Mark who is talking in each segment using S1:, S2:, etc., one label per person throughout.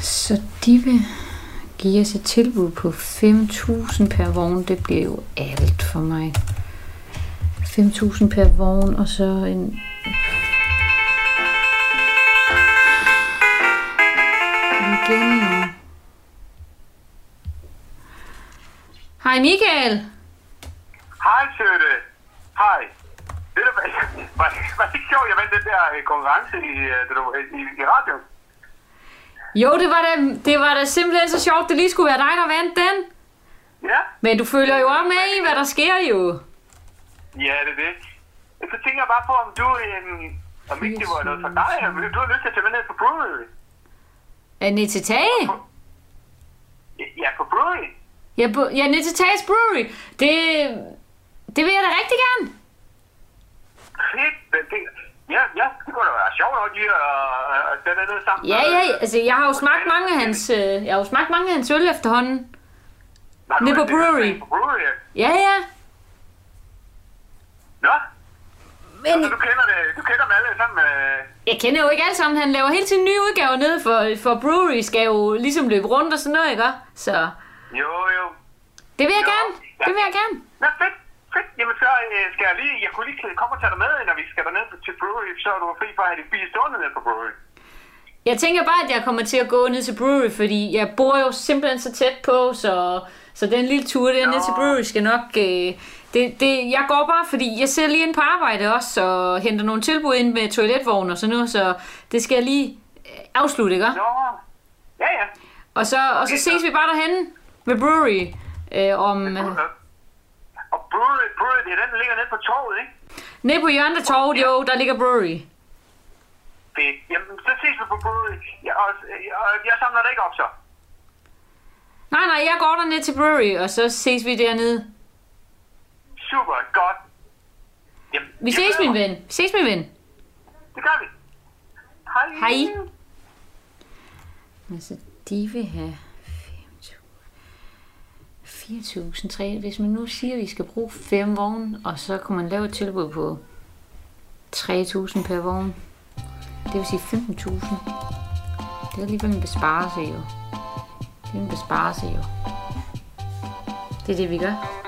S1: Så de vil give os et tilbud på 5.000 per vogn. Det bliver jo alt for mig. 5.000 per vogn, og så en... Igen nu. Hej Michael!
S2: Hej, Søde. Hej. Ved du, hvad, var, var det ikke sjovt, jeg vandt den der øh, konkurrence i, øh, det du- i, i radioen?
S1: Jo, det var, da, det var da simpelthen så sjovt, det lige skulle være dig, der vandt den.
S2: Ja?
S1: Men du følger jo også med i, hvad der sker jo.
S2: Ja, det er det. Så tænker jeg bare på, om du... Øhm, om ikke det var noget for dig, om du har lyst til at tage med ned på Brewery.
S1: Er det ned til Tage?
S2: Ja, på Brewery.
S1: Ja, på, ja ned til Tages Brewery. Det, det vil jeg da rigtig gerne.
S2: Fedt. Det, det, ja, ja, det kunne da være sjovt nok lige at, at, at tage ned sammen.
S1: Ja, ja, altså jeg har jo smagt mange af hans, øh, jeg har jo smagt mange af hans øl efterhånden.
S2: Har du
S1: ned på
S2: været til det der
S1: Brewery.
S2: På Brewery. ja?
S1: Ja, ja.
S2: Nå,
S1: Men
S2: så du kender, det, du kender dem alle sammen. Øh,
S1: jeg kender jo ikke alle sammen. Han laver hele tiden nye udgaver nede, for, for Brewery skal jo ligesom løbe rundt og sådan noget, ikke? også? Så
S2: jo, jo.
S1: det vil jeg
S2: Jo,
S1: gerne.
S2: ja.
S1: Det vil jeg gerne.
S2: Nå, fedt. Fedt. Jamen, så øh, skal jeg lige... Jeg kunne lige klæde- komme og tage dig med, når vi skal derned til Brewery, så er du fri for at have dit bil stående ned på Brewery.
S1: Jeg tænker bare, at jeg kommer til at gå ned til Brewery, fordi jeg bor jo simpelthen så tæt på, så, så den lille tur der ned til Brewery skal nok... Øh, det, det, jeg går bare, fordi jeg sidder lige ind på arbejde også, og henter nogle tilbud ind med toiletvogn og sådan noget, så det skal jeg lige øh, afslutte, ikke?
S2: Nå, ja, ja.
S1: Og så, og så ses vi bare derhenne ved Brewery. Øh, om, øh,
S2: Og Brewery, Brewery, det er den, der ligger nede på torvet, ikke?
S1: nede på hjørnet af torvet, jo, der ligger Brewery.
S2: Fedt. Jamen, så ses vi på Brewery. Jeg, og, øh, og, jeg samler dig ikke op, så.
S1: Nej, nej, jeg går derned til Brewery, og så ses vi dernede.
S2: Super, godt. Jamen,
S1: Vi
S2: jeg
S1: ses,
S2: glæder
S1: min
S2: mig.
S1: ven. Vi ses, min ven.
S2: Det gør vi. Hej.
S1: Hej. Altså, de vil have 4.000, hvis man nu siger, at vi skal bruge 5 vogne, og så kunne man lave et tilbud på 3.000 per vogn. Det vil sige 15.000. Det er alligevel en besparelse jo. Det er en besparelse jo. Det er det, vi gør.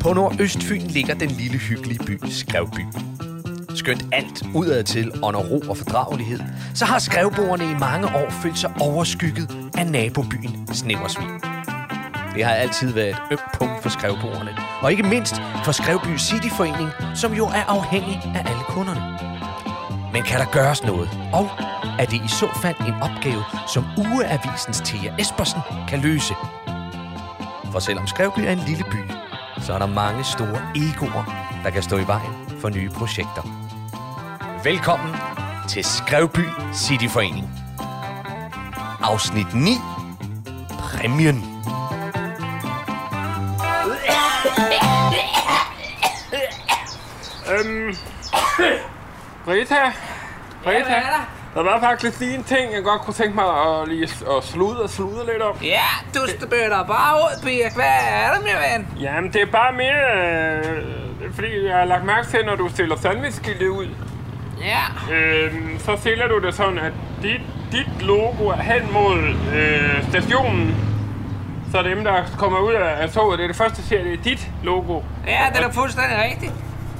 S3: På Nordøstfyn ligger den lille hyggelige by Skrevby. Skønt alt udadtil under ro og fordragelighed, så har skrevboerne i mange år følt sig overskygget af nabobyen Snemmersvig. Det har altid været et ømt punkt for skrevboerne, og ikke mindst for Skrevby Cityforening, som jo er afhængig af alle kunderne. Men kan der gøres noget? Og er det i så fald en opgave, som ugeavisens Thea Espersen kan løse? For selvom Skrevby er en lille by, så er der mange store egoer, der kan stå i vejen for nye projekter. Velkommen til Skrevby Cityforening. Afsnit 9. Præmien.
S4: Øhm, Rita, Rita,
S5: hvad er der?
S4: der var faktisk lige en ting, jeg godt kunne tænke mig at, lige s- at sludre og sludre lidt om.
S5: Ja, du spytter bare ud, Birk. Hvad er det, min ven?
S4: Jamen, det er bare mere, øh, fordi jeg har lagt mærke til, når du stiller sandwichskilte ud,
S5: Ja.
S4: øh, så stiller du det sådan, at dit, dit logo er hen mod øh, stationen. Så dem, der kommer ud af af toget, det er det første, der ser, det er dit logo.
S5: Ja, det er da fuldstændig rigtigt.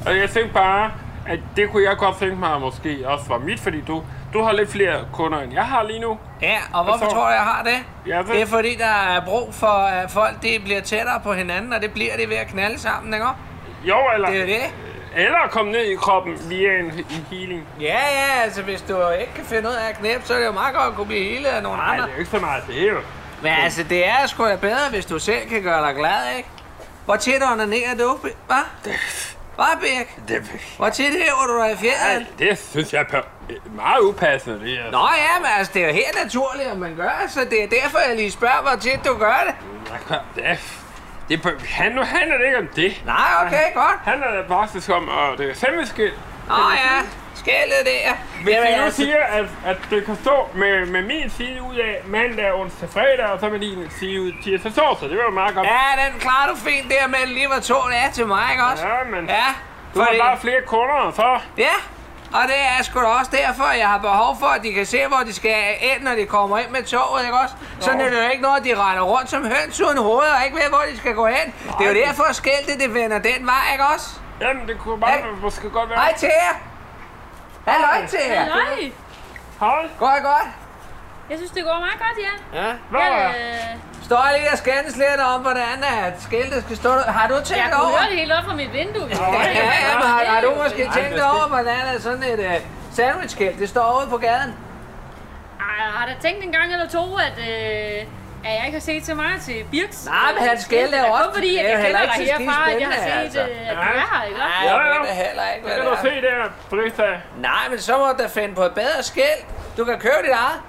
S4: Og jeg tænkte bare, at det kunne jeg godt tænke mig måske også var mit, fordi du, du har lidt flere kunder, end jeg har lige nu.
S5: Ja, og hvorfor
S4: Hvad så?
S5: tror du, jeg har det?
S4: Ja, det-
S5: det er fordi, der er brug for, at folk de bliver tættere på hinanden, og det bliver de ved at knalde sammen, ikke?
S4: Jo, eller,
S5: Det er det.
S4: eller komme ned i kroppen via en, en healing.
S5: Ja, ja, altså hvis du ikke kan finde ud af at knæppe, så er det jo meget godt at kunne blive hele af nogle
S4: Nej,
S5: andre.
S4: det er jo ikke så meget det, er jo.
S5: Men altså, det er sgu da bedre, hvis du selv kan gøre dig glad, ikke? Hvor tit onanerer du, Bi- hva? Hvad, Birk?
S4: Det,
S5: Hvor tit hæver du dig i fjerden?
S4: Ej, det synes jeg er per- meget upassende, det her.
S5: Nå ja, men altså, det er jo helt naturligt, at man gør, så det er derfor, jeg lige spørger, hvor tit du gør det.
S4: Det, det, bør- han, nu handler det ikke om det.
S5: Nej, okay, godt.
S4: handler det faktisk om, og det er sandwichskilt.
S5: Nå ja, skældet der.
S4: Hvis
S5: Jamen,
S4: jeg nu
S5: altså,
S4: siger, at, at det kan stå med, med min side ud af mandag, onsdag, fredag, og så med din side ud tirsdag,
S5: altså,
S4: torsdag, det var jo meget godt.
S5: Ja, den klarer du fint der med lige, hvor to det er til mig, ikke også?
S4: Ja, men
S5: Ja,
S4: du Du har bare flere kunder, så...
S5: Ja, og det er sgu da også derfor, at jeg har behov for, at de kan se, hvor de skal ind, når de kommer ind med toget, ikke også? Så
S4: Jo.
S5: nytter det jo ikke noget, at de render rundt som høns uden hoved og ikke ved, hvor de skal gå hen. Det er jo
S4: Nej.
S5: derfor, at skiltet det vender den vej, ikke også?
S4: Jamen, det kunne bare
S5: Hey.
S4: måske godt være...
S5: Hej til jer! Halløj til jer!
S1: Hej.
S4: Hold.
S5: Går det godt?
S1: Jeg synes, det går meget godt, ja.
S5: Ja.
S4: Hvad?
S1: øh,
S5: Står lige og skændes lidt om, hvordan at skiltet skal stå. Har du
S1: jeg
S5: tænkt
S1: kunne
S5: over?
S1: høre det helt op fra mit vindue. hvis det var.
S5: Ja, ja, men har, har du måske
S1: Ej,
S5: tænkt over, hvordan at sådan et uh, sandwich-skilt, det står ude på gaden?
S1: jeg har da tænkt en gang eller to, at, øh, at jeg ikke har set så meget til Birks.
S5: Nej, men hans skæld er
S1: Det
S5: også-
S1: kun fordi, at
S5: det
S1: jeg
S5: er jo heller
S1: kender dig
S5: ikke så skide
S1: herfra, at jeg har
S5: spændende,
S1: set,
S5: altså.
S1: øh, at du er her, ikke?
S5: Nej,
S4: Ja,
S5: jeg
S4: ja.
S5: ved det heller ikke,
S4: Det
S5: hvad
S4: kan
S5: det
S4: du
S5: er.
S4: se der, Brita.
S5: Nej, men så må du da finde på et bedre skilt. Du kan købe dit eget.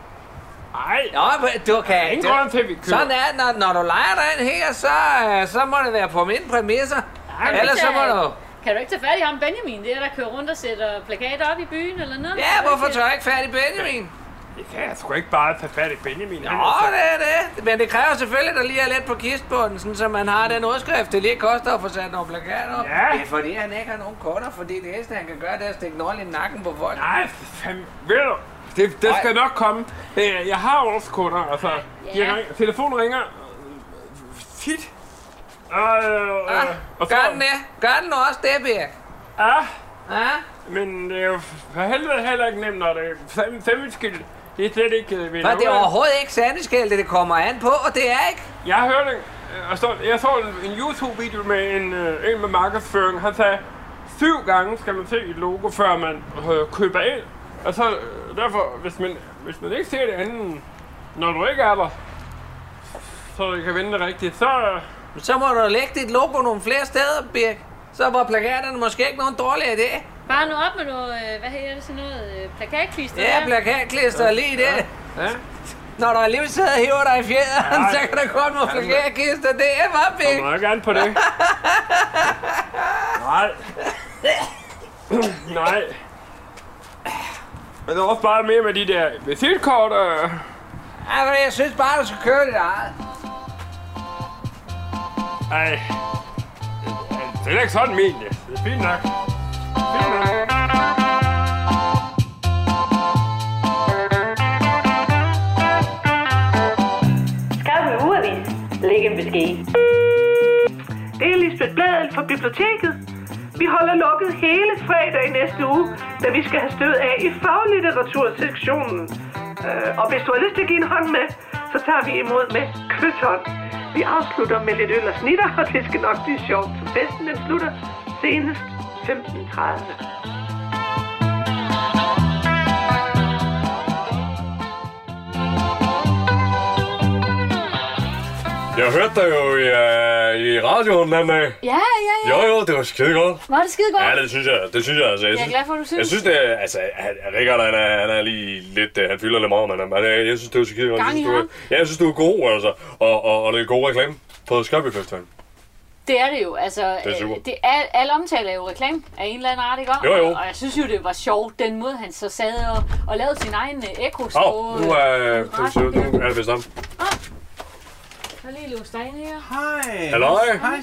S4: Ej,
S5: Nå, men du kan
S4: ingen
S5: du-
S4: grund til, at vi køber.
S5: Sådan er det, når, når du leger dig ind her, så, øh, så må det være på mine præmisser.
S1: Kan du
S5: Ellers
S1: ikke
S5: så må
S1: tage-
S5: du...
S1: Kan du ikke tage fat i ham Benjamin, det er der kører rundt og sætter plakater op i byen eller noget?
S5: Ja, hvorfor tager jeg ikke fat i Benjamin?
S4: Det kan jeg sgu ikke bare tage fat i Benjamin.
S5: Nå, det er det. Men det kræver selvfølgelig, at der lige er lidt på kistbunden, sådan, så man har den udskrift, det lige koster at få sat nogle plakater op.
S4: Ja.
S5: Det er fordi, han ikke har nogen kunder, fordi det eneste, han kan gøre, det er at stikke nål i nakken på folk.
S4: Nej, fandme. Ved du, det, det skal nok komme. Øh, Jeg har årskunder, altså.
S1: Ja.
S4: Yeah. Ring, telefonen ringer øh, tit. Og, øh,
S5: Ja,
S4: øh, og så,
S5: Ah, gør den det? Gør den nu også det, Birk?
S4: Ja,
S5: Ja?
S4: men det er jo for helvede heller ikke nemt, når det er sam- sandwichskilt. Det er slet ikke øh, ved
S5: For det er
S4: noget.
S5: overhovedet ikke sandeskældte, det kommer an på, og det er ikke.
S4: Jeg har hørt en, øh, og så, jeg så en- en YouTube-video med en, øh, en med markedsføring. Han sagde, syv gange skal man se et logo, før man øh, køber ind. Og så øh, derfor, hvis man, hvis man ikke ser det andet, når du ikke er der, så du kan vende det rigtigt, så... øh,
S5: Så må du lægge dit logo nogle flere steder, Birk. Så var plakaterne måske ikke nogen dårlig idé.
S1: Bare nu op med noget, øh, hvad hedder det, sådan noget øh, plakatklister
S5: Ja,
S1: der.
S5: plakatklister lige det.
S4: Ja.
S5: Når du alligevel sidder og hiver dig i fjederen,
S4: Ej.
S5: så kan der godt må plakatklister. Det er bare Birk.
S4: Kommer jeg gerne på det. Nej. Nej. Men det er også bare mere med de der visitkort. Øh.
S5: Ej, men jeg synes bare, du skal køre dit eget.
S4: Ej. Det er da ikke sådan, men det. Det er fint nok. Fint nok.
S6: Skriv en ugeavis. Læg en besked. Det er Lisbeth Bladel fra biblioteket. Vi holder lukket hele fredag i næste uge, da vi skal have stød af i faglitteratursektionen. Øh, og hvis du har lyst til at give en hånd med, så tager vi imod med kysshånd. Vi afslutter med lidt øl og snitter, og det skal nok blive sjovt. Så festen den slutter senest 15.30.
S7: Jeg hørte dig jo i, øh, i radioen den anden dag.
S8: Ja, ja, ja.
S7: Jo, jo, det var skide godt.
S8: Var det skide godt?
S7: Ja, det synes jeg, det synes jeg altså. Jeg,
S8: Jeg er glad for, at du synes.
S7: Jeg synes, det er, altså, han, Richard, han er, han er lige lidt, øh, han fylder lidt meget, men han- men øh, jeg synes, det var skide godt. Jeg
S8: Gang i
S7: synes, du, er-
S8: ham.
S7: ja, jeg synes, du er god, altså, og, og, og det er god reklame på Skørby Festivalen.
S8: Det er det jo. Altså,
S7: Det er super.
S8: øh, det er, alle omtaler er jo reklame af en eller anden art, ikke?
S7: Jo, jo.
S8: Og jeg synes jo, det var sjovt, den måde han så sad og, og lavede sin egen øh, ekko
S7: Au, nu er, nu er det vist ham.
S8: Jeg lige låse dig ind her.
S7: Halløj. Hej,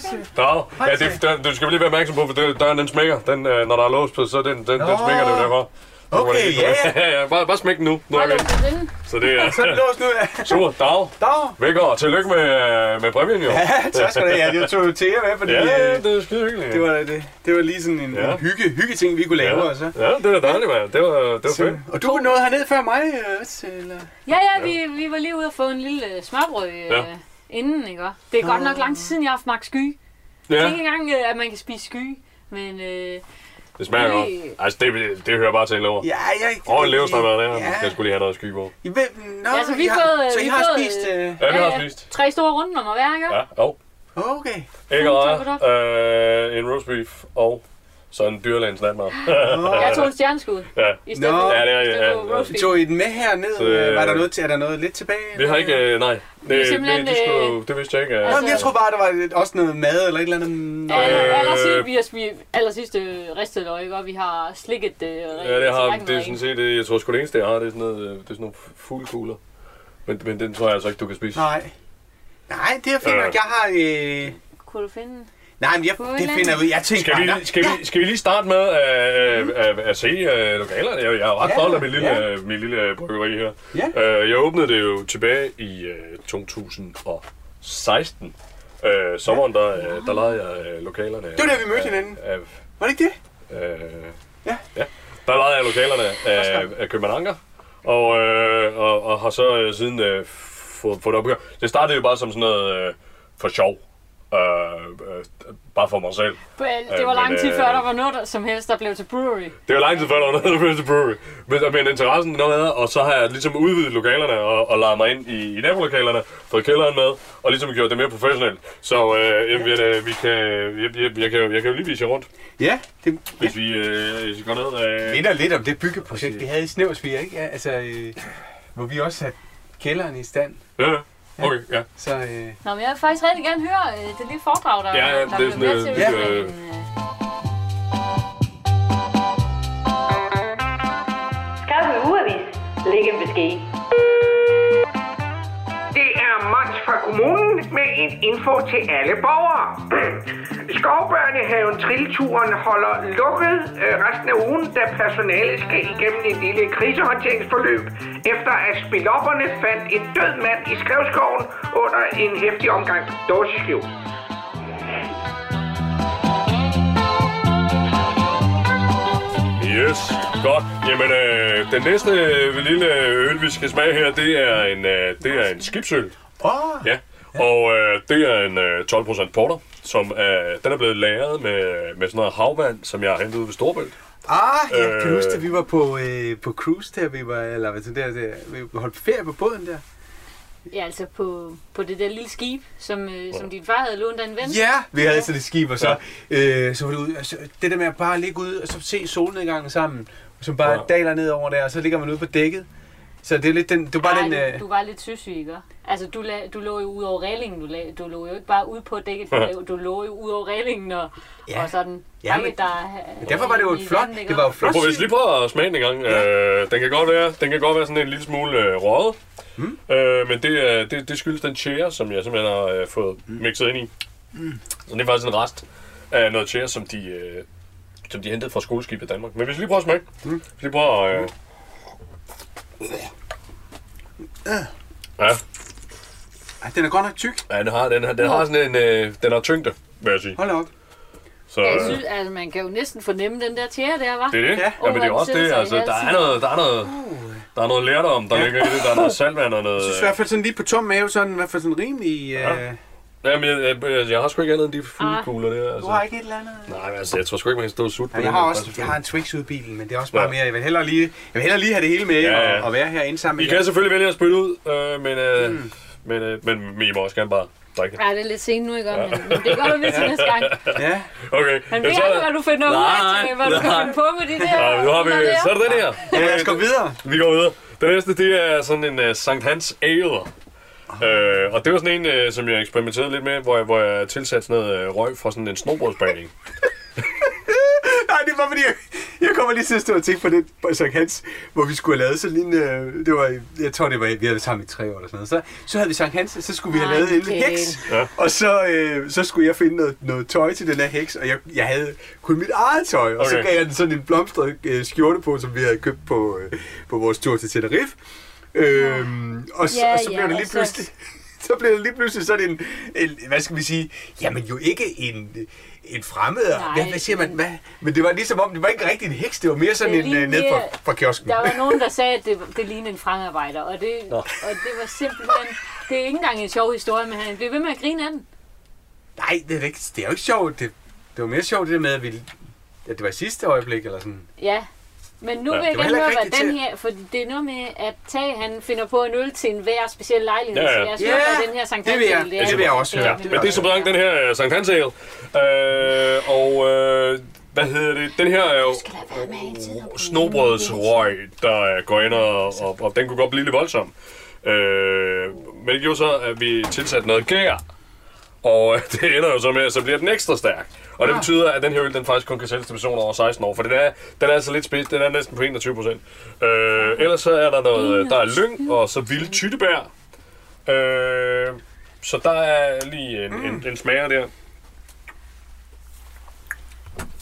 S7: Ja, det, den, du skal lige være opmærksom på, for det, døren den smækker. Den, øh, når der er lås på, så den, den, den smækker det jo derfor. Okay, ja, ja. ja, bare, bare smæk den nu. nu er
S8: Hold
S7: vi.
S8: op, det er den.
S7: Så det er... Sådan låst nu. Super. Dag.
S9: Dag.
S7: Velkommen, og tillykke med, øh, med præmien, jo. Ja,
S9: tak skal du have. Ja, det tog jo til jer med, fordi
S7: ja
S9: ja,
S7: det er skide hyggeligt.
S9: det, var, det, det var lige sådan en,
S7: Ja.
S9: ja. en hygge, hygge ting, vi kunne lave. Ja. Og, så.
S7: Ja, det var dejligt, mand. Det var, det var fedt.
S9: Så, og du var nået herned før mig, øh, også, eller?
S8: Ja, ja, vi, vi var lige ude og få en lille øh, smørbrød øh,
S7: Ja.
S8: inden, ikke? Det er godt nok lang tid siden, jeg har haft magt sky. Ja.
S7: Ja,
S8: Ikke engang, øh, at man kan spise sky. Men øh,
S7: det smager godt. Altså, det, det hører bare til en lever.
S9: Ja, jeg...
S7: Og en leverstang der, der.
S9: Ja.
S7: Ja. Jeg skulle lige have noget sky på.
S9: I ved, nå,
S8: Ja, så vi
S9: I har,
S8: fået, øh,
S9: så I
S8: vi
S9: har
S8: fået,
S9: spist... Øh,
S7: Ja, vi
S8: ja,
S7: har
S8: ja,
S7: spist.
S8: tre store runde om hver, ikke?
S7: Ja, og
S9: okay.
S7: ikke og
S8: tak for det.
S7: øh, en roast beef og så en dyrlægens landmad.
S8: Jeg tog en stjerneskud.
S7: ja.
S8: I stedet
S9: Nå.
S8: for,
S7: Ja, det er-
S8: i stedet
S7: ja,
S8: for
S7: ja.
S8: roast beef.
S9: Tog I den med herned?
S7: Så,
S9: Øh, var der
S7: øh,
S9: noget til, er der noget lidt tilbage?
S7: Vi har ikke, øh, nej. Det,
S8: er
S7: det,
S8: simpelthen,
S7: det, det, skulle, det vidste jeg ikke. øh.
S9: Nå, men jeg tror bare, der var lidt- også noget mad eller et eller andet. Nå,
S8: Aller,
S7: Øh,
S8: aller, sidst, vi har spist aller sidste øh, ristet løg, ikke? og vi har slikket øh,
S7: Ja, det har
S8: tallerkenen
S7: det er
S8: ren.
S7: sådan set, det, jeg tror sgu det eneste, jeg har, det er sådan, noget, øh, det er sådan nogle fuglekugler. Men, men den tror jeg altså ikke, du kan spise.
S9: Nej. Nej, det er fint
S7: Øh.
S9: nok. Jeg har... Øh,
S8: Kunne du finde?
S9: Nej, men jeg, det finder jeg ud. Jeg tænkte
S7: Skal
S9: bare,
S7: vi,
S9: nå,
S7: skal, vi, skal vi lige starte med øh, øh, at, at se øh, lokalerne? Jeg, jeg er ret
S9: Ja,
S7: stolt af min lille,
S9: ja.
S7: ja. min lille øh, bryggeri her.
S9: Ja.
S7: Øh, jeg åbnede det jo tilbage i øh, 2016. Øh, sommeren, der, øh, der lejede jeg øh, lokalerne. Det
S9: var der, vi mødte hinanden.
S7: Af,
S9: Var det ikke det?
S7: øh,
S9: Ja.
S7: ja. Der lejede jeg lokalerne af, af København Anker, og, øh, og, og har så øh, siden øh, fået, fået det op at køre. Det startede jo bare som sådan noget øh, for sjov. Øh, øh, bare for mig selv.
S1: Well, det var
S7: Øh,
S1: lang
S7: men,
S1: tid
S7: øh,
S1: før, der var noget som helst, der blev til brewery.
S7: Det var lang tid før, der var noget, der blev til brewery. Men, men interessen den med, og så har jeg ligesom udvidet lokalerne og, og lejet mig ind i, i nabolokalerne, fået kælderen med, og ligesom gjort det mere professionelt. Så øh, jamen, jeg, øh, vi kan, jeg, jeg, jeg, kan, jo- jeg kan jo lige vise jer rundt,
S9: Ja, det
S7: hvis vi, øh, hvis vi går ned. Øh.
S9: minder lidt om det byggeprojekt, vi havde i Snævsvig, ikke? Ja, altså, øh, hvor vi også satte kælderen i stand.
S7: Ja, ja. okay, ja.
S9: Så øh,
S1: Nå, men jeg vil faktisk rigtig gerne høre øh, det lille foredrag, der,
S7: Ja, ja,
S1: der
S7: det er
S1: blev
S7: sådan,
S1: med
S7: øh,
S1: til.
S7: ja.
S1: sådan en, øh,
S6: Skaffe en ugeavis. Læg en besked.
S10: Det er Mons fra kommunen med en info til alle borgere. Skovbørnehaven Trilleturen holder lukket øh, resten af ugen, da personalet skal igennem et lille krisehåndteringsforløb, efter at spilopperne fandt en død mand i skrevskoven under en hæftig omgang dåseskiv.
S7: Yes, godt. Jamen, øh, den næste øh, lille øl, vi skal smage her, det er en, øh, det er en skibsøl.
S9: åh,
S7: Ja, og øh, det er en øh, 12% porter, som øh, den er blevet lagret med, med sådan noget havvand, som jeg har hentet ud ved Storbælt.
S9: ah, jeg kan
S7: Øh.
S9: huske, at vi var på, øh, på cruise der, vi var, eller hvad sådan der, der, vi holdt ferie på båden der.
S1: Ja, altså på, på det der lille skib, som, øh, som din far havde lånt af en ven.
S9: Ja, vi havde sådan et skib, og så, øh, så var det ud. Og så, det der med at bare ligge ude og så se solnedgangen sammen, som bare
S7: Ja.
S9: daler ned over der, og så ligger man ude på dækket. Så det er lidt den, det var bare den,
S1: Ej,
S9: øh,
S1: du, du var lidt søsyg, ikke? Altså, du, la, du lå jo ud over reglingen. Du, la, du lå jo ikke bare ude på dækket. Du, lå- du lå jo ud over reglingen og,
S9: Ja.
S1: ja. og sådan.
S9: Ja,
S1: Ej,
S9: men-
S1: der,
S9: derfor var det jo et
S1: i
S9: flot,
S1: vandet, ikke?
S9: det var jo
S7: Nu
S9: flot
S7: prøver vi
S9: syn.
S7: lige prøve at smage den en gang. Øh, den, kan godt være, den kan godt være sådan en lille smule øh, røget, mm. øh, men det, er- det, det skyldes den chære, som jeg simpelthen har øh, fået
S9: Mm.
S7: mixet ind i. Så det er faktisk en rest af noget chære, som de, øh, som de hentede fra skoleskibet i Danmark. Men vi skal lige prøve at smage. Mm. Vi skal lige prøve at... Øh... Ja,
S9: Ej, den er godt nok tyk.
S7: ja, den har, den, har, den har sådan en... Øh, den har tyngde, vil jeg sige.
S9: Hold da op.
S7: Så,
S1: Jeg
S7: øh,
S1: synes, altså, man kan jo næsten fornemme den der tjære der, var.
S7: Det er det.
S9: Ja.
S7: Ja, men det er jo
S1: Åh, Uh.
S7: også
S1: den
S7: det.
S1: sidder
S7: Altså,
S1: i
S7: der er
S1: halsen.
S7: noget, der er noget, der er noget lærdom, der ligger i det. Der er noget saltvand og noget...
S9: Jeg synes i hvert fald sådan lige på tom mave, sådan i hvert fald sådan rimelig... Øh,
S7: Jamen, jeg, jeg, jeg har sgu ikke andet end
S1: Ah.
S7: de fuglekugler der.
S9: du har
S7: Altså.
S9: ikke et eller andet...
S7: Nej, men altså, jeg tror sgu ikke, man kan stå og sutte på
S9: Ja, jeg
S7: den
S9: har
S7: her
S9: også
S7: faktisk.
S9: jeg har en Twix ud i bilen, men det er også bare
S7: Ja.
S9: mere... Jeg vil hellere lige, jeg vil hellere lige have det hele med ja,
S7: Ja,
S9: ja.
S7: ja.
S9: Og, og, være herinde sammen
S7: I
S9: med Mm. jer.
S7: kan selvfølgelig vælge at spytte ud, øh, men, øh, men, øh, men I må også gerne bare drikke det.
S1: Ja, det er lidt sent nu, ikke? Ja. Men, men det gør du lidt til næste gang.
S9: Ja.
S7: Okay.
S1: Han
S7: jamen,
S1: ved
S7: så er
S1: ikke,
S7: der-
S1: hvad du finder ud
S7: Nej,
S1: af, til, hvad du kan
S7: nej.
S1: finde på med de der.
S7: Ja, nu har vi,
S1: der.
S7: så er det den her.
S9: ja, lad os gå videre.
S7: Vi går videre. Den næste, det er sådan en uh, Sankt Hans Ale. Øh, og det var sådan en, uh, som jeg eksperimenterede lidt med, hvor jeg, hvor jeg tilsatte sådan noget uh, røg fra sådan en snobrødsbagning.
S9: Nej, det var fordi, jeg, jeg kommer lige til at stå og tænke på det på Sankt Hans, hvor vi skulle have lavet sådan en, øh, det var, jeg tror det var, vi havde været sammen i tre år eller sådan noget, så, så havde vi Sankt Hans, og så skulle vi have
S1: Ej,
S9: lavet en
S1: okay.
S9: heks, og så, øh, så skulle jeg finde noget, noget tøj til den her heks, og jeg, jeg havde kun mit eget tøj, og så
S7: Okay.
S9: gav jeg den sådan en blomstret øh, skjorte på, som vi havde købt på, øh, på vores tur til Tenerife, øhm, og, så,
S1: Ja,
S9: og så blev
S1: ja, altså,
S9: det lige
S1: og så-
S9: pludselig så blev det lige pludselig sådan en, en, hvad skal vi sige, jamen jo ikke en, en fremmed,
S1: Nej,
S9: hvad, hvad siger man, hvad? Men det var ligesom om, det var ikke rigtig en heks, det var mere sådan
S1: Det er
S9: en
S1: lige
S9: øh, ned fra,
S1: mere-
S9: fra kiosken.
S1: Der var nogen, der sagde, at det, det lignede en fremarbejder, og det, og det var simpelthen... Det er ikke engang en sjov historie, men han blev ved med at grine af den.
S9: Nej, det er, da ikke, det er jo ikke sjovt. Det, det var mere sjovt det der med, at vi, ja, det var i sidste øjeblik eller sådan.
S1: Ja, men nu
S7: Ja,
S1: ja, vil jeg
S9: det var
S1: gerne
S9: heller
S1: høre,
S9: ikke
S1: hvad
S9: rigtig
S1: den
S9: til-
S1: her... For det er noget med, at Tag, han finder på en øl til en hver speciel lejlighed.
S7: Ja, ja.
S1: Så jeg synes,
S9: Ja,
S1: at den her Sankt
S9: det vil jeg-
S1: Hans-øl,
S9: det
S1: er-
S9: vil jeg også høre.
S7: Ja,
S9: det
S7: men det er som sagt den her uh, Sankt Hans Ale. Øh, og øh, hvad hedder det? Den her er jo snobrødsrøg, der øh, går ind og, og, og den kunne godt blive lidt voldsom. Øh, men det gjorde så, at vi tilsatte noget gær. Og øh, det ender jo så med, at så bliver den ekstra stærk. Og det
S9: Ah.
S7: betyder, at den her øl, den faktisk kun kan sælges til personer over 16 år. For den er, den er altså lidt spids. Den er næsten på 21 procent.
S1: Ah.
S7: Øh, ellers så er der noget, øh, der er lyng og så vilde tyttebær. Øh, så der er lige en, mm. en, en smager der.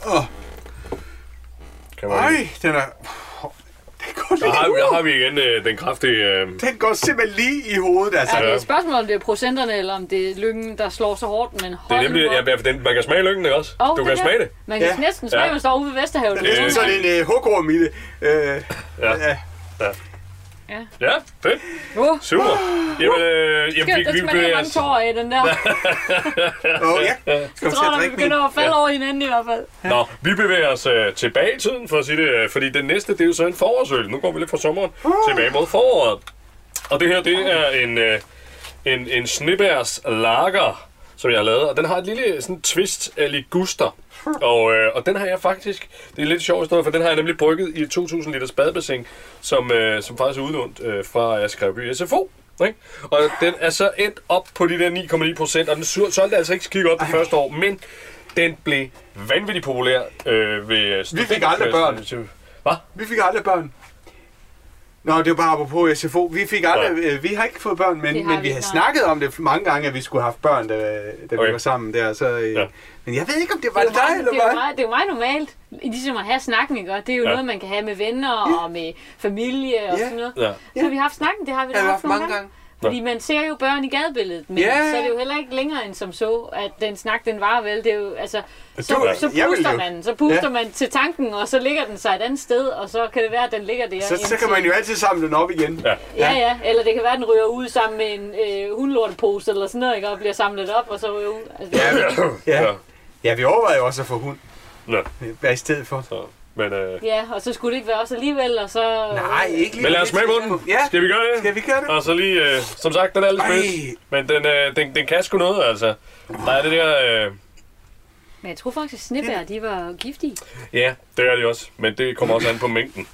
S4: Åh,
S7: Kan man...
S4: Ej, den er... Den går,
S7: Der har,
S4: lige,
S7: der har vi igen øh, den kraftige... Øh,
S4: den går simpelthen lige i hovedet, altså.
S1: Ja, det er
S7: Ja.
S1: et spørgsmål, om det er procenterne, eller om det er lyngen, der slår så hårdt, men
S7: det
S1: hold
S7: er nemlig,
S1: nu op.
S7: ja, for den, man kan smage lyngen, ikke også?
S1: Åh,
S7: du kan smage det.
S1: Man kan
S4: Ja.
S1: næsten smage,
S7: Ja.
S1: ja. man står ude ved Vesterhavet.
S4: Det er næsten sådan en øh, hukrum i det. Øh,
S7: Ja.
S4: ja.
S7: Ja, fedt.
S1: Uh,
S7: Super.
S4: Ah.
S7: Jamen, øh, jamen
S1: Skal,
S7: vi,
S1: der
S7: vi,
S1: skal man have
S7: bevæger
S1: mange
S7: os...
S1: tårer af, den der.
S4: Åh, ja. Skal
S1: Jeg
S4: vi til
S1: tror,
S4: at
S1: at vi
S4: drikke min?
S1: begynder at falde over hinanden i hvert fald.
S7: Nå, vi bevæger os øh, tilbage i tiden, for at sige det, øh, fordi den næste, det er jo så en forårsøl. Nu går vi lidt fra sommeren
S4: Ah.
S7: tilbage mod foråret. Og det her, det er en, øh, en, en snibærs lager, som jeg har lavet, og den har et lille sådan, twist af liguster. Og, øh, og den har jeg faktisk, det er lidt sjovt historie, for den har jeg nemlig brygget i et 2000 liters badebassin, som, øh, som faktisk er udlånt øh, fra jeg skrev by SFO. Ikke? Og den er så endt op på de der 9,9 procent, og den sur- solgte altså ikke skik op det første år, men den blev vanvittigt populær øh, ved...
S4: Vi fik aldrig børn.
S7: Hvad?
S4: Vi fik aldrig børn. Nå, det var bare apropos SFO. Vi fik aldrig, øh, vi har ikke fået børn, men,
S1: Det har
S4: men
S1: vi
S4: vi har
S1: ikke, nej.
S4: snakket om det mange gange, at vi skulle have haft børn, da, da
S7: Okay.
S4: vi var sammen der. Så, øh,
S7: Ja.
S4: ja. Men jeg ved ikke, om det var
S1: Det er jo
S4: det dig,
S1: meget-
S4: eller
S1: det er jo
S4: hvad?
S1: meget, det er jo meget normalt, ligesom at have snakken, ikke? Og det er jo
S7: Ja.
S1: ja. noget, man kan have med venner og med familie og
S4: Ja.
S1: sådan noget.
S7: Ja.
S1: Så vi har haft snakken, det har vi da
S4: Ja, vi har
S1: haft mange gange. Fordi man ser jo børn i gadebilledet, men
S4: Ja.
S1: så er det jo heller ikke længere end som så, at den snak, den var vel, det er jo, altså, så,
S4: du-
S1: så
S4: jeg vil
S1: puster
S4: jo-
S1: man, så puster
S4: Ja.
S1: man til tanken, og så ligger den sig et andet sted, og så kan det være, at den ligger der.
S4: Så, så kan man jo altid samle den op igen.
S7: Ja.
S1: Ja, ja, eller det kan være, at den ryger ud sammen med en øh, hundelortepose eller sådan noget, ikke? og bliver samlet op, og så ryger ud. Altså,
S4: Ja, vi,
S7: Ja.
S4: ja. ja, vi overvejede jo også at få hund.
S7: Nå,
S4: Hvad i stedet for?
S7: så, men, øh,
S1: ja, og så skulle det ikke være os alligevel, og så...
S4: Nej, ikke lige.
S7: men lad os smage på den.
S4: Ja,
S7: Skal vi gøre det?
S4: Skal vi gøre det?
S7: Og så lige, øh, som sagt, den er lidt
S4: Ej.
S7: spids, men den, øh, den, den kan sgu noget, altså. Der er det der... Øh,
S1: Men jeg tror faktisk, at snebær, de var giftige.
S7: ja, det er det også, men det kommer også an på mængden.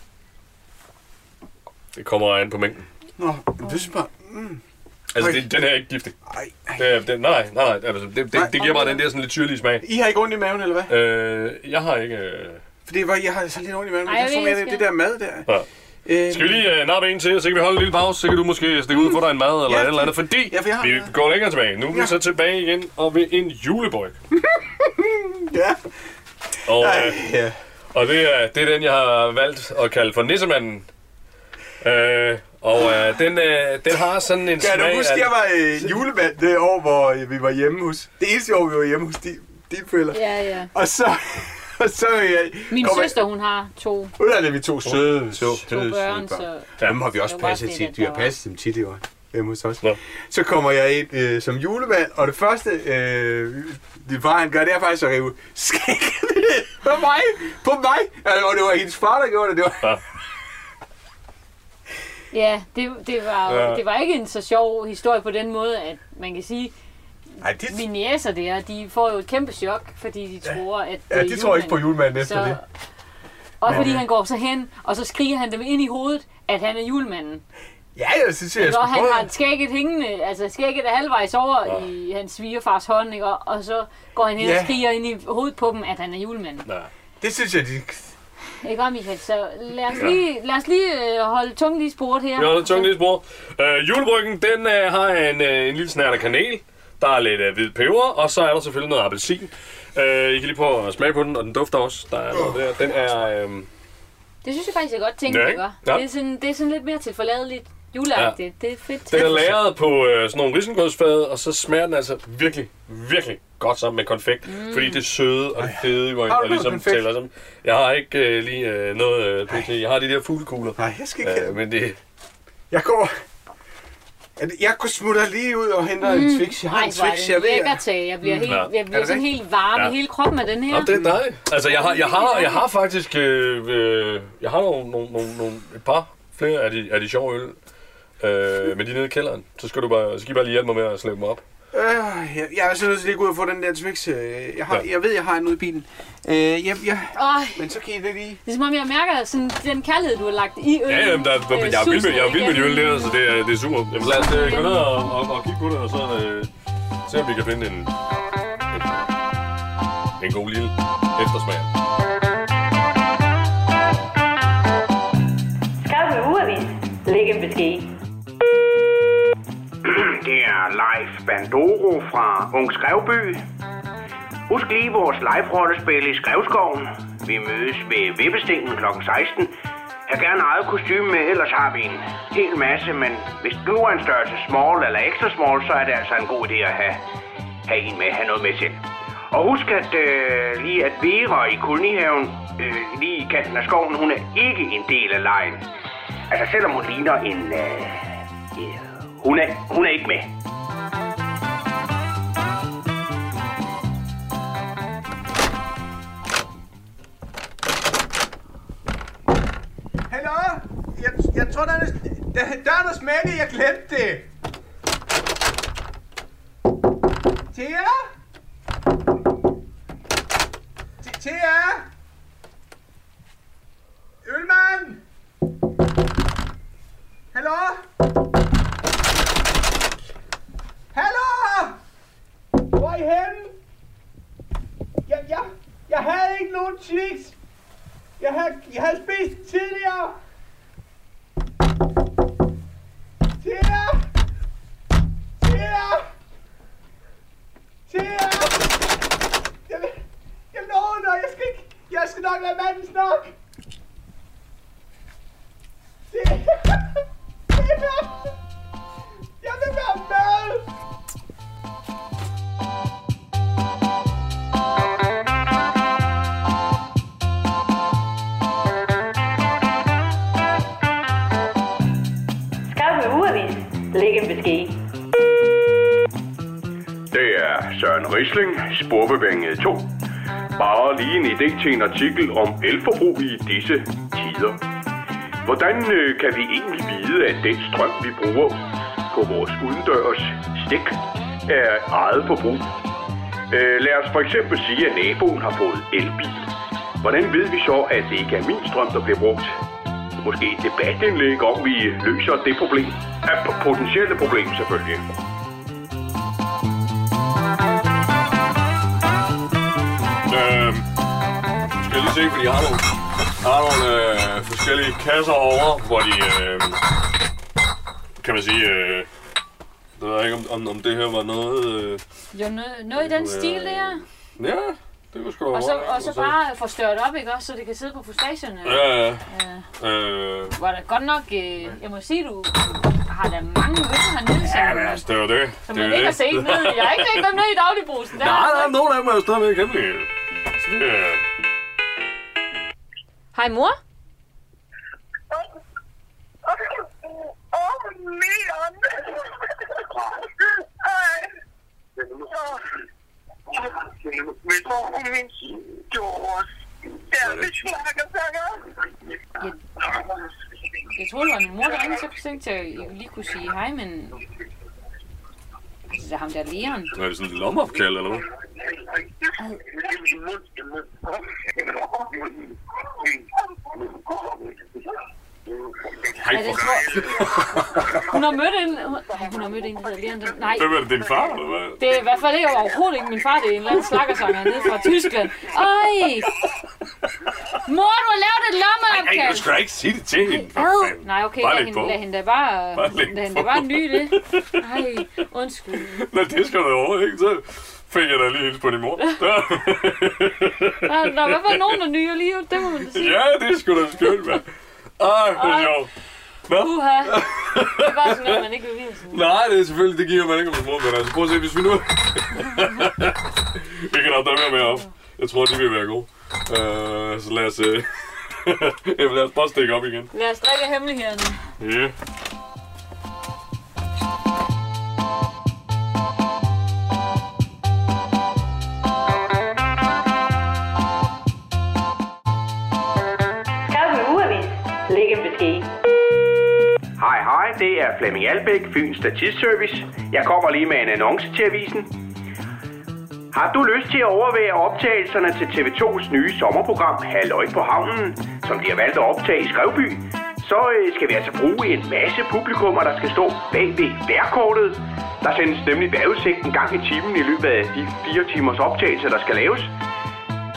S7: Det kommer an på mængden.
S4: Nå, men det synes bare...
S7: Altså,
S4: Ej.
S7: det, den her er ikke giftig.
S4: Ej, ej.
S7: Det, er- det, nej, nej, nej. Altså, det, det, det giver bare den der sådan lidt syrlige smag.
S4: I har ikke ondt i maven, eller hvad?
S7: Øh, jeg har ikke... Øh...
S4: For det var, jeg har så lidt ondt i maven, men
S1: Ej,
S4: jeg tror
S1: jeg
S4: mere,
S1: ved
S4: det er det
S1: ikke.
S4: der mad der.
S7: Ja.
S4: Øh,
S7: Skal vi lige øh, nappe en til, så kan vi holde en lille pause, så kan du måske stikke ud og få dig en mad eller
S4: Ja,
S7: et eller andet, fordi
S4: ja, for jeg har-
S7: vi går længere tilbage. Nu er vi
S4: Ja.
S7: så tilbage igen og ved en julebryg.
S4: Ja.
S7: Og, øh,
S4: Ej, ja.
S7: og det, er, det er den, jeg har valgt at kalde for Nissemanden. Øh, og øh, den, øh, den har sådan en
S4: Kan
S7: smag...
S4: du huske,
S7: af-
S4: jeg var øh, julemand det år, hvor øh, vi var hjemme hos... Det eneste år, vi var hjemme hos de, dine forældre.
S1: Ja, ja.
S4: Og så... Og så... Øh,
S1: Min
S4: kom jeg-
S1: søster, hun har to,
S4: Nu er det, vi to søde, søde,
S1: to
S4: søde
S1: børn, så...
S4: Dem har vi også
S1: Det var bare
S4: passet
S1: fedt, at
S4: tit. Vi har
S1: der var-
S4: passet dem tit i år. Hjemme hos os.
S7: Nå.
S4: Så kommer jeg ind øh, som julemand, og det første, øh, det far han gør, det er faktisk at rive skægget ned på mig. På mig. Altså, Og det var hendes far, der gjorde det. det var,
S1: Ja, det, det, var,
S7: Ja.
S1: ja. det var ikke en så sjov historie på den måde, at man kan sige,
S4: nej, det,
S1: mine jæser der, de får jo et kæmpe chok, fordi de tror, at det
S4: ja,
S1: er
S4: de tror ikke på julemanden efter det. øh,
S1: Og fordi han går så hen, og så skriger han dem ind i hovedet, at han er julemanden.
S4: Ja, jeg synes, jeg
S1: Når
S4: skulle
S1: han
S4: prøve.
S1: har skægget hængende, altså skægget er halvvejs over ja. i hans svigerfars hånd, ikke? Og, og så går han hen
S4: Ja.
S1: og skriger ind i hovedet på dem, at han er julemanden.
S7: Nej.
S4: Det synes jeg, de...
S1: Ikke om, Michael? Så lad os lige, lad os lige øh, holde tungen lige i sporet her.
S7: Vi holder tungen lidt bror. Øh, julebryggen, den øh, har en, øh, en lille snært af kanel. Der er lidt øh, hvid peber, og så er der selvfølgelig noget appelsin. Øh, I kan lige prøve at smage på den, og den dufter også. Der er noget der. Den er... Øh,
S1: Det synes jeg faktisk, jeg godt tænker,
S7: Ja,
S1: ja,
S7: ikke?
S1: ikke?
S7: Ja.
S1: Det, er sådan, det er sådan lidt mere til forladeligt juleagtigt. Ja. Det er fedt.
S7: Den er lagret på øh, sådan nogle risengrødsfade, og så smager den altså virkelig, virkelig godt sammen med konfekt. Mm. Fordi det søde og det fede går ind
S4: Har du
S7: og ligesom
S4: noget konfekt?
S7: tæller sammen. Jeg har ikke øh, lige øh, noget øh, pt. Jeg har de der fuglekugler.
S4: Nej, jeg skal ikke...
S7: Øh, men det,
S4: Jeg går... Jeg går smutter lige ud og henter mm. en Twix. Jeg har en
S1: Nej, hvor er
S4: Twix,
S1: det
S4: jeg
S1: en
S4: ved.
S1: lækker tag. Jeg bliver, helt,
S7: Mm. Ja.
S1: jeg
S4: Er
S1: bliver
S4: det
S1: sådan
S4: rigtigt?
S1: helt varm
S7: Ja.
S1: i hele kroppen af den her.
S7: Jamen, det er dig. Altså, jeg har, jeg har, jeg har faktisk øh, øh, jeg har nogle, nogle, nogle, nogle, et par flere af de, af de sjove øl. Øh, men de er nede i kælderen. Så skal du bare, så skal I bare lige hjælpe mig med at slæbe dem op.
S4: Øh, jeg, jeg er så nødt til lige at gå ud og få den der Twix. øh, Jeg, har,
S7: Ja.
S4: jeg ved, jeg har en ude i bilen. Øh, jeg, jeg,
S1: Øj,
S4: men så kan I det lige...
S1: det er som om, jeg mærker sådan, den kærlighed, du har lagt i øl. Øh,
S7: Ja, jamen, der, der, jeg, er vild med, jeg er vild med de øl der, så det er, det er super. Jamen, lad os øh, gå ned og, og, og kigge på det, og så øh, se, om vi kan finde en, en, en god lille eftersmag.
S6: Skaffe ugeavis. Læg en besked.
S2: Det er Leif Bandoro fra Ung Skrevby.
S10: Husk lige vores live-rollespil i Skrevskoven. Vi mødes ved Vippestenen kl. 16. Jeg gerne eget kostume med, ellers har vi en hel masse, men hvis du er en størrelse small eller ekstra small, så er det altså en god idé at have, have en med, have noget med selv. Og husk at øh, lige at Vera i kolonihaven, øh, lige i kanten af skoven, hun er ikke en del af lejen. Altså selvom hun ligner en... Øh, øh, hun, er, hun er ikke med.
S9: Hallo? Jeg, jeg tror, der er, der, der er noget smække. Jeg glemte det. Thea? Th- Thea? Ølmand? Hallo? Hallo? Hvor er I henne? Jeg, jeg, jeg havde ikke nogen chips. Jeg har, jeg har spist tidligere. Tia! Tia! Tia! Jeg, jeg lover dig, jeg skal ikke... Jeg skal nok være manden snart. Tia! Tia! Jeg vil være med!
S6: Skarpe ugeavis. Lægen vil ske.
S11: Det er Søren Risling, Sporbevægning 2. Bare lige en idé til en artikel om elforbrug i disse tider. Hvordan øh, kan vi egentlig vide, at den strøm, vi bruger på vores udendørs stik, er eget forbrug? Øh, lad os for eksempel sige, at naboen har fået elbil. Hvordan ved vi så, at det ikke er min strøm, der bliver brugt? Måske et debatindlæg om, vi løser det problem. Ja, p- potentielle problem selvfølgelig.
S7: Øh, skal jeg lige se, fordi jeg har nogle, jeg har nogle øh, forskellige kasser over, hvor de, øh, kan man sige, øh, jeg ved jeg ikke, om, om, om det her var noget... Øh,
S1: Jo, noget, noget i den stil der.
S7: ja, det var sgu da
S1: Og så,
S7: meget,
S1: og så bare få størt op, ikke også, så det kan sidde på frustrationerne.
S7: Ja, ja.
S1: ja.
S7: Øh,
S1: Var da godt nok, øh, jeg må sige, du har da mange øl hernede, som,
S7: ja, men altså, det var det.
S1: som
S7: det
S1: man
S7: var
S1: ikke har
S7: det.
S1: set ned. Jeg har ikke set dem ned i dagligbrusen. Det har
S7: Nej,
S1: jeg
S7: der
S1: altså
S7: er nogen af dem, jeg stadigvæk hemmelige. Så det, øh,
S1: ikke. Hej mor.
S2: Oh, Oh,
S1: Jeg, jeg troede, det var min mor derinde, så tænkte jeg, at I lige kunne sige hej, men... Altså, Det er ham der Leon.
S7: er det sådan et lommeopkald, eller hvad?
S2: Oh,
S7: Hej,
S1: Ja, det
S7: for-
S1: tror Hun har mødt en... Ej, hun har mødt en, der hedder Leon. Den- Nej,
S7: Hvem er det, din far, eller hvad?
S1: det er i hvert fald ikke overhovedet ikke min far. Det er en eller anden slakkersanger nede fra Tyskland. Ej! Mor, du har lavet et
S7: Ej,
S1: lommeopkald!
S7: du skal da ikke sige det til hende, for
S1: Ad.
S7: fanden.
S1: Nej, okay,
S7: Bare
S1: lad
S7: lidt
S1: hende,
S7: på.
S1: lad hende da bare,
S7: Bare lidt
S1: lad hende da
S7: på.
S1: bare nyde det. Ej, undskyld.
S7: Nej, det skal du da overhovedet ikke til. Fik jeg da lige hilse på din mor. Der.
S1: Der, der er i hvert fald nogen, der nyer lige nu, det må man sige.
S7: ja, det er sgu da skønt, mand. Ej, hvor
S1: Ej.
S7: sjovt. Nå,
S1: Uha, det er bare sådan noget, man ikke vil vide. sådan.
S7: nej, det er selvfølgelig, det giver man ikke om sin mor, men altså, prøv at se, hvis vi nu... vi kan nok der med op. Jeg tror, de vil være gode. Uh, så lad os... Uh... Jamen, lad os bare stikke op igen.
S1: Lad os drikke af hemmelighederne.
S7: Ja. Yeah.
S6: Skarpe ugeavis. Lægen vil ske.
S10: Hej, hej, det er Flemming Albæk, Fyns Statistservice. Jeg kommer lige med en annonce til avisen. Har du lyst til at overvære optagelserne til TV2's nye sommerprogram Halløj på havnen, som de har valgt at optage i Skrevby, så øh, skal vi altså bruge en masse publikummer, der skal stå bag ved værkortet. Der sendes nemlig vejrudsigt en gang i timen i løbet af de fire timers optagelse, der skal laves.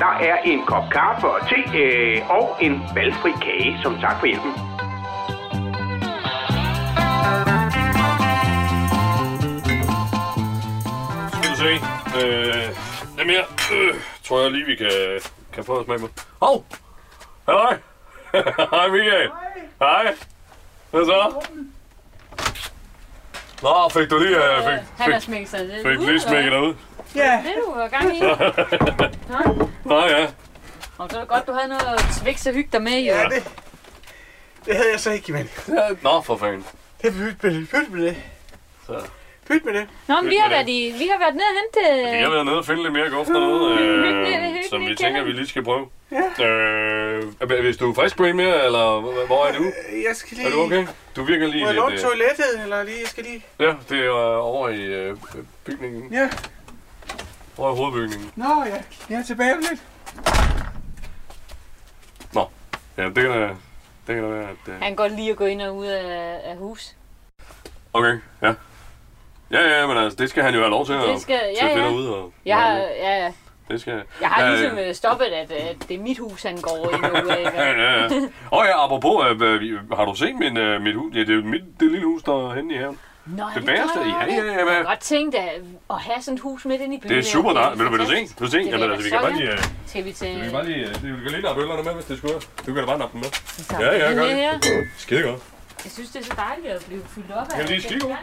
S10: Der er en kop kaffe og te øh, og en valgfri kage som tak for hjælpen.
S7: Skal du se. Øh, lidt mere. Øh, tror jeg lige, vi kan, kan få os med på. Hov! Halløj! Hej Michael! Hej! Hvad så? Nå, fik du lige... øh, fik,
S1: Han har smækket sig lidt
S7: fik
S1: ud,
S7: lige smækket dig
S1: eller
S7: ud?
S1: hvad? Det er du har gang i.
S7: Nå ja.
S1: Og så er det godt, du havde noget at svikse og hygge dig med, jo.
S9: Ja, det- Det havde jeg så ikke, mand.
S7: Nå, for fanden.
S9: Det er pyt med det. Pyt med det.
S7: Så.
S9: Pyt med det.
S1: Nå, men vi har været, i, vi har været nede og hente...
S7: Vi har været nede og finde lidt mere guf dernede, øh,
S1: hyggeligt,
S7: som vi
S1: hyggeligt,
S7: tænker,
S1: Kenneth.
S7: vi lige skal prøve. Øh, h- hvis du er frisk på en mere, eller h- hvor er du?
S9: Øh, Jeg skal lige...
S7: Er du okay? Du virker lige
S9: Må jeg låne
S7: lidt... øh,
S9: toilettet, eller lige? Jeg skal lige...
S7: Ja, det er øh, over i øh, bygningen.
S9: Ja.
S7: Over i hovedbygningen.
S9: Nå, ja. Jeg er tilbage om lidt.
S7: Nå, ja, det kan da, det kan da være, at... Øh,
S1: Han kan godt lide at gå ind og ud af, af hus.
S7: okay, ja. Ja, ja, men altså, det skal han jo have lov til at
S1: Det skal- ja,
S7: til at finde
S1: ja.
S7: ud og...
S1: Jeg har, ja, ja.
S7: Det skal...
S1: jeg har
S7: Ja,
S1: ligesom
S7: øh,
S1: øh, stoppet, at, at det er mit hus, han går ind og ud af.
S7: ja, ja, ja. Og ja, apropos, øh, hvad vi- har du set min, øh, mit hus? Ja, det er jo mit, det lille hus, der er henne i haven.
S1: Nå,
S7: det bagerste?
S1: gør jeg
S7: Ja, ja, ja,
S1: Jeg
S7: hvad-
S1: kunne godt tænke at, at have sådan et hus midt inde i byen.
S7: Det er super
S1: jo
S7: dejligt. Vil du, vil du se?
S1: fantastisk.
S7: Vil du se?
S1: Det vil
S7: Jamen,
S1: jeg da
S7: altså, vi kan
S1: så
S7: bare lige...
S1: gerne.
S7: øh,
S1: Skal vi tage...
S7: Vi kan bare lige, øh, vi kan lige nappe øllerne med, hvis det skulle. Du kan da bare nappe dem med.
S1: tager
S7: Ja,
S1: vi
S7: ja,
S1: den
S7: gør
S1: med her.
S7: det. Skide godt.
S1: Jeg synes, det er så dejligt at blive fyldt op af.
S7: Kan vi lige skide god?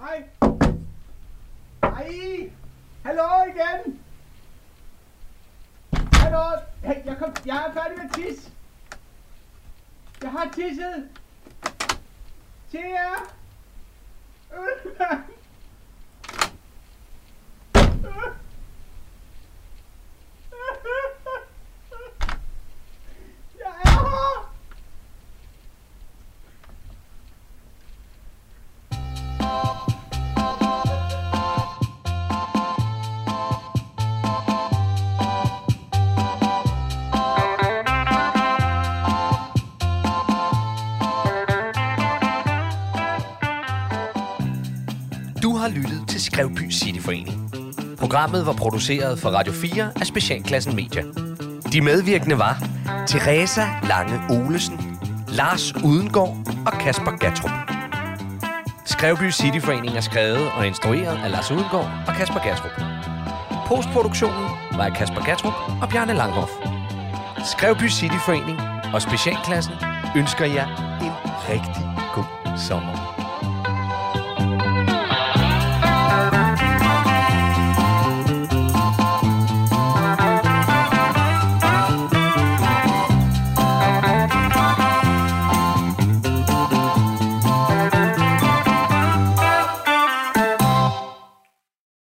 S12: Hej. Hej. Hallo igen. Hallo. Hey, jeg, kom, jeg er færdig med tis. Jeg har tisset. Til jer. Ølmand. Jeg er her.
S3: Du har lyttet til Skrevby Cityforening. Programmet var produceret for Radio 4 af Specialklassen Media. De medvirkende var Teresa Lange Olesen, Lars Udengård og Kasper Gattrup. Skrevby Cityforening er skrevet og instrueret af Lars Udengård og Kasper Gattrup. Postproduktionen var af Kasper Gattrup og Bjarne Langhoff. Skrevby Cityforening og Specialklassen ønsker jer en rigtig god sommer.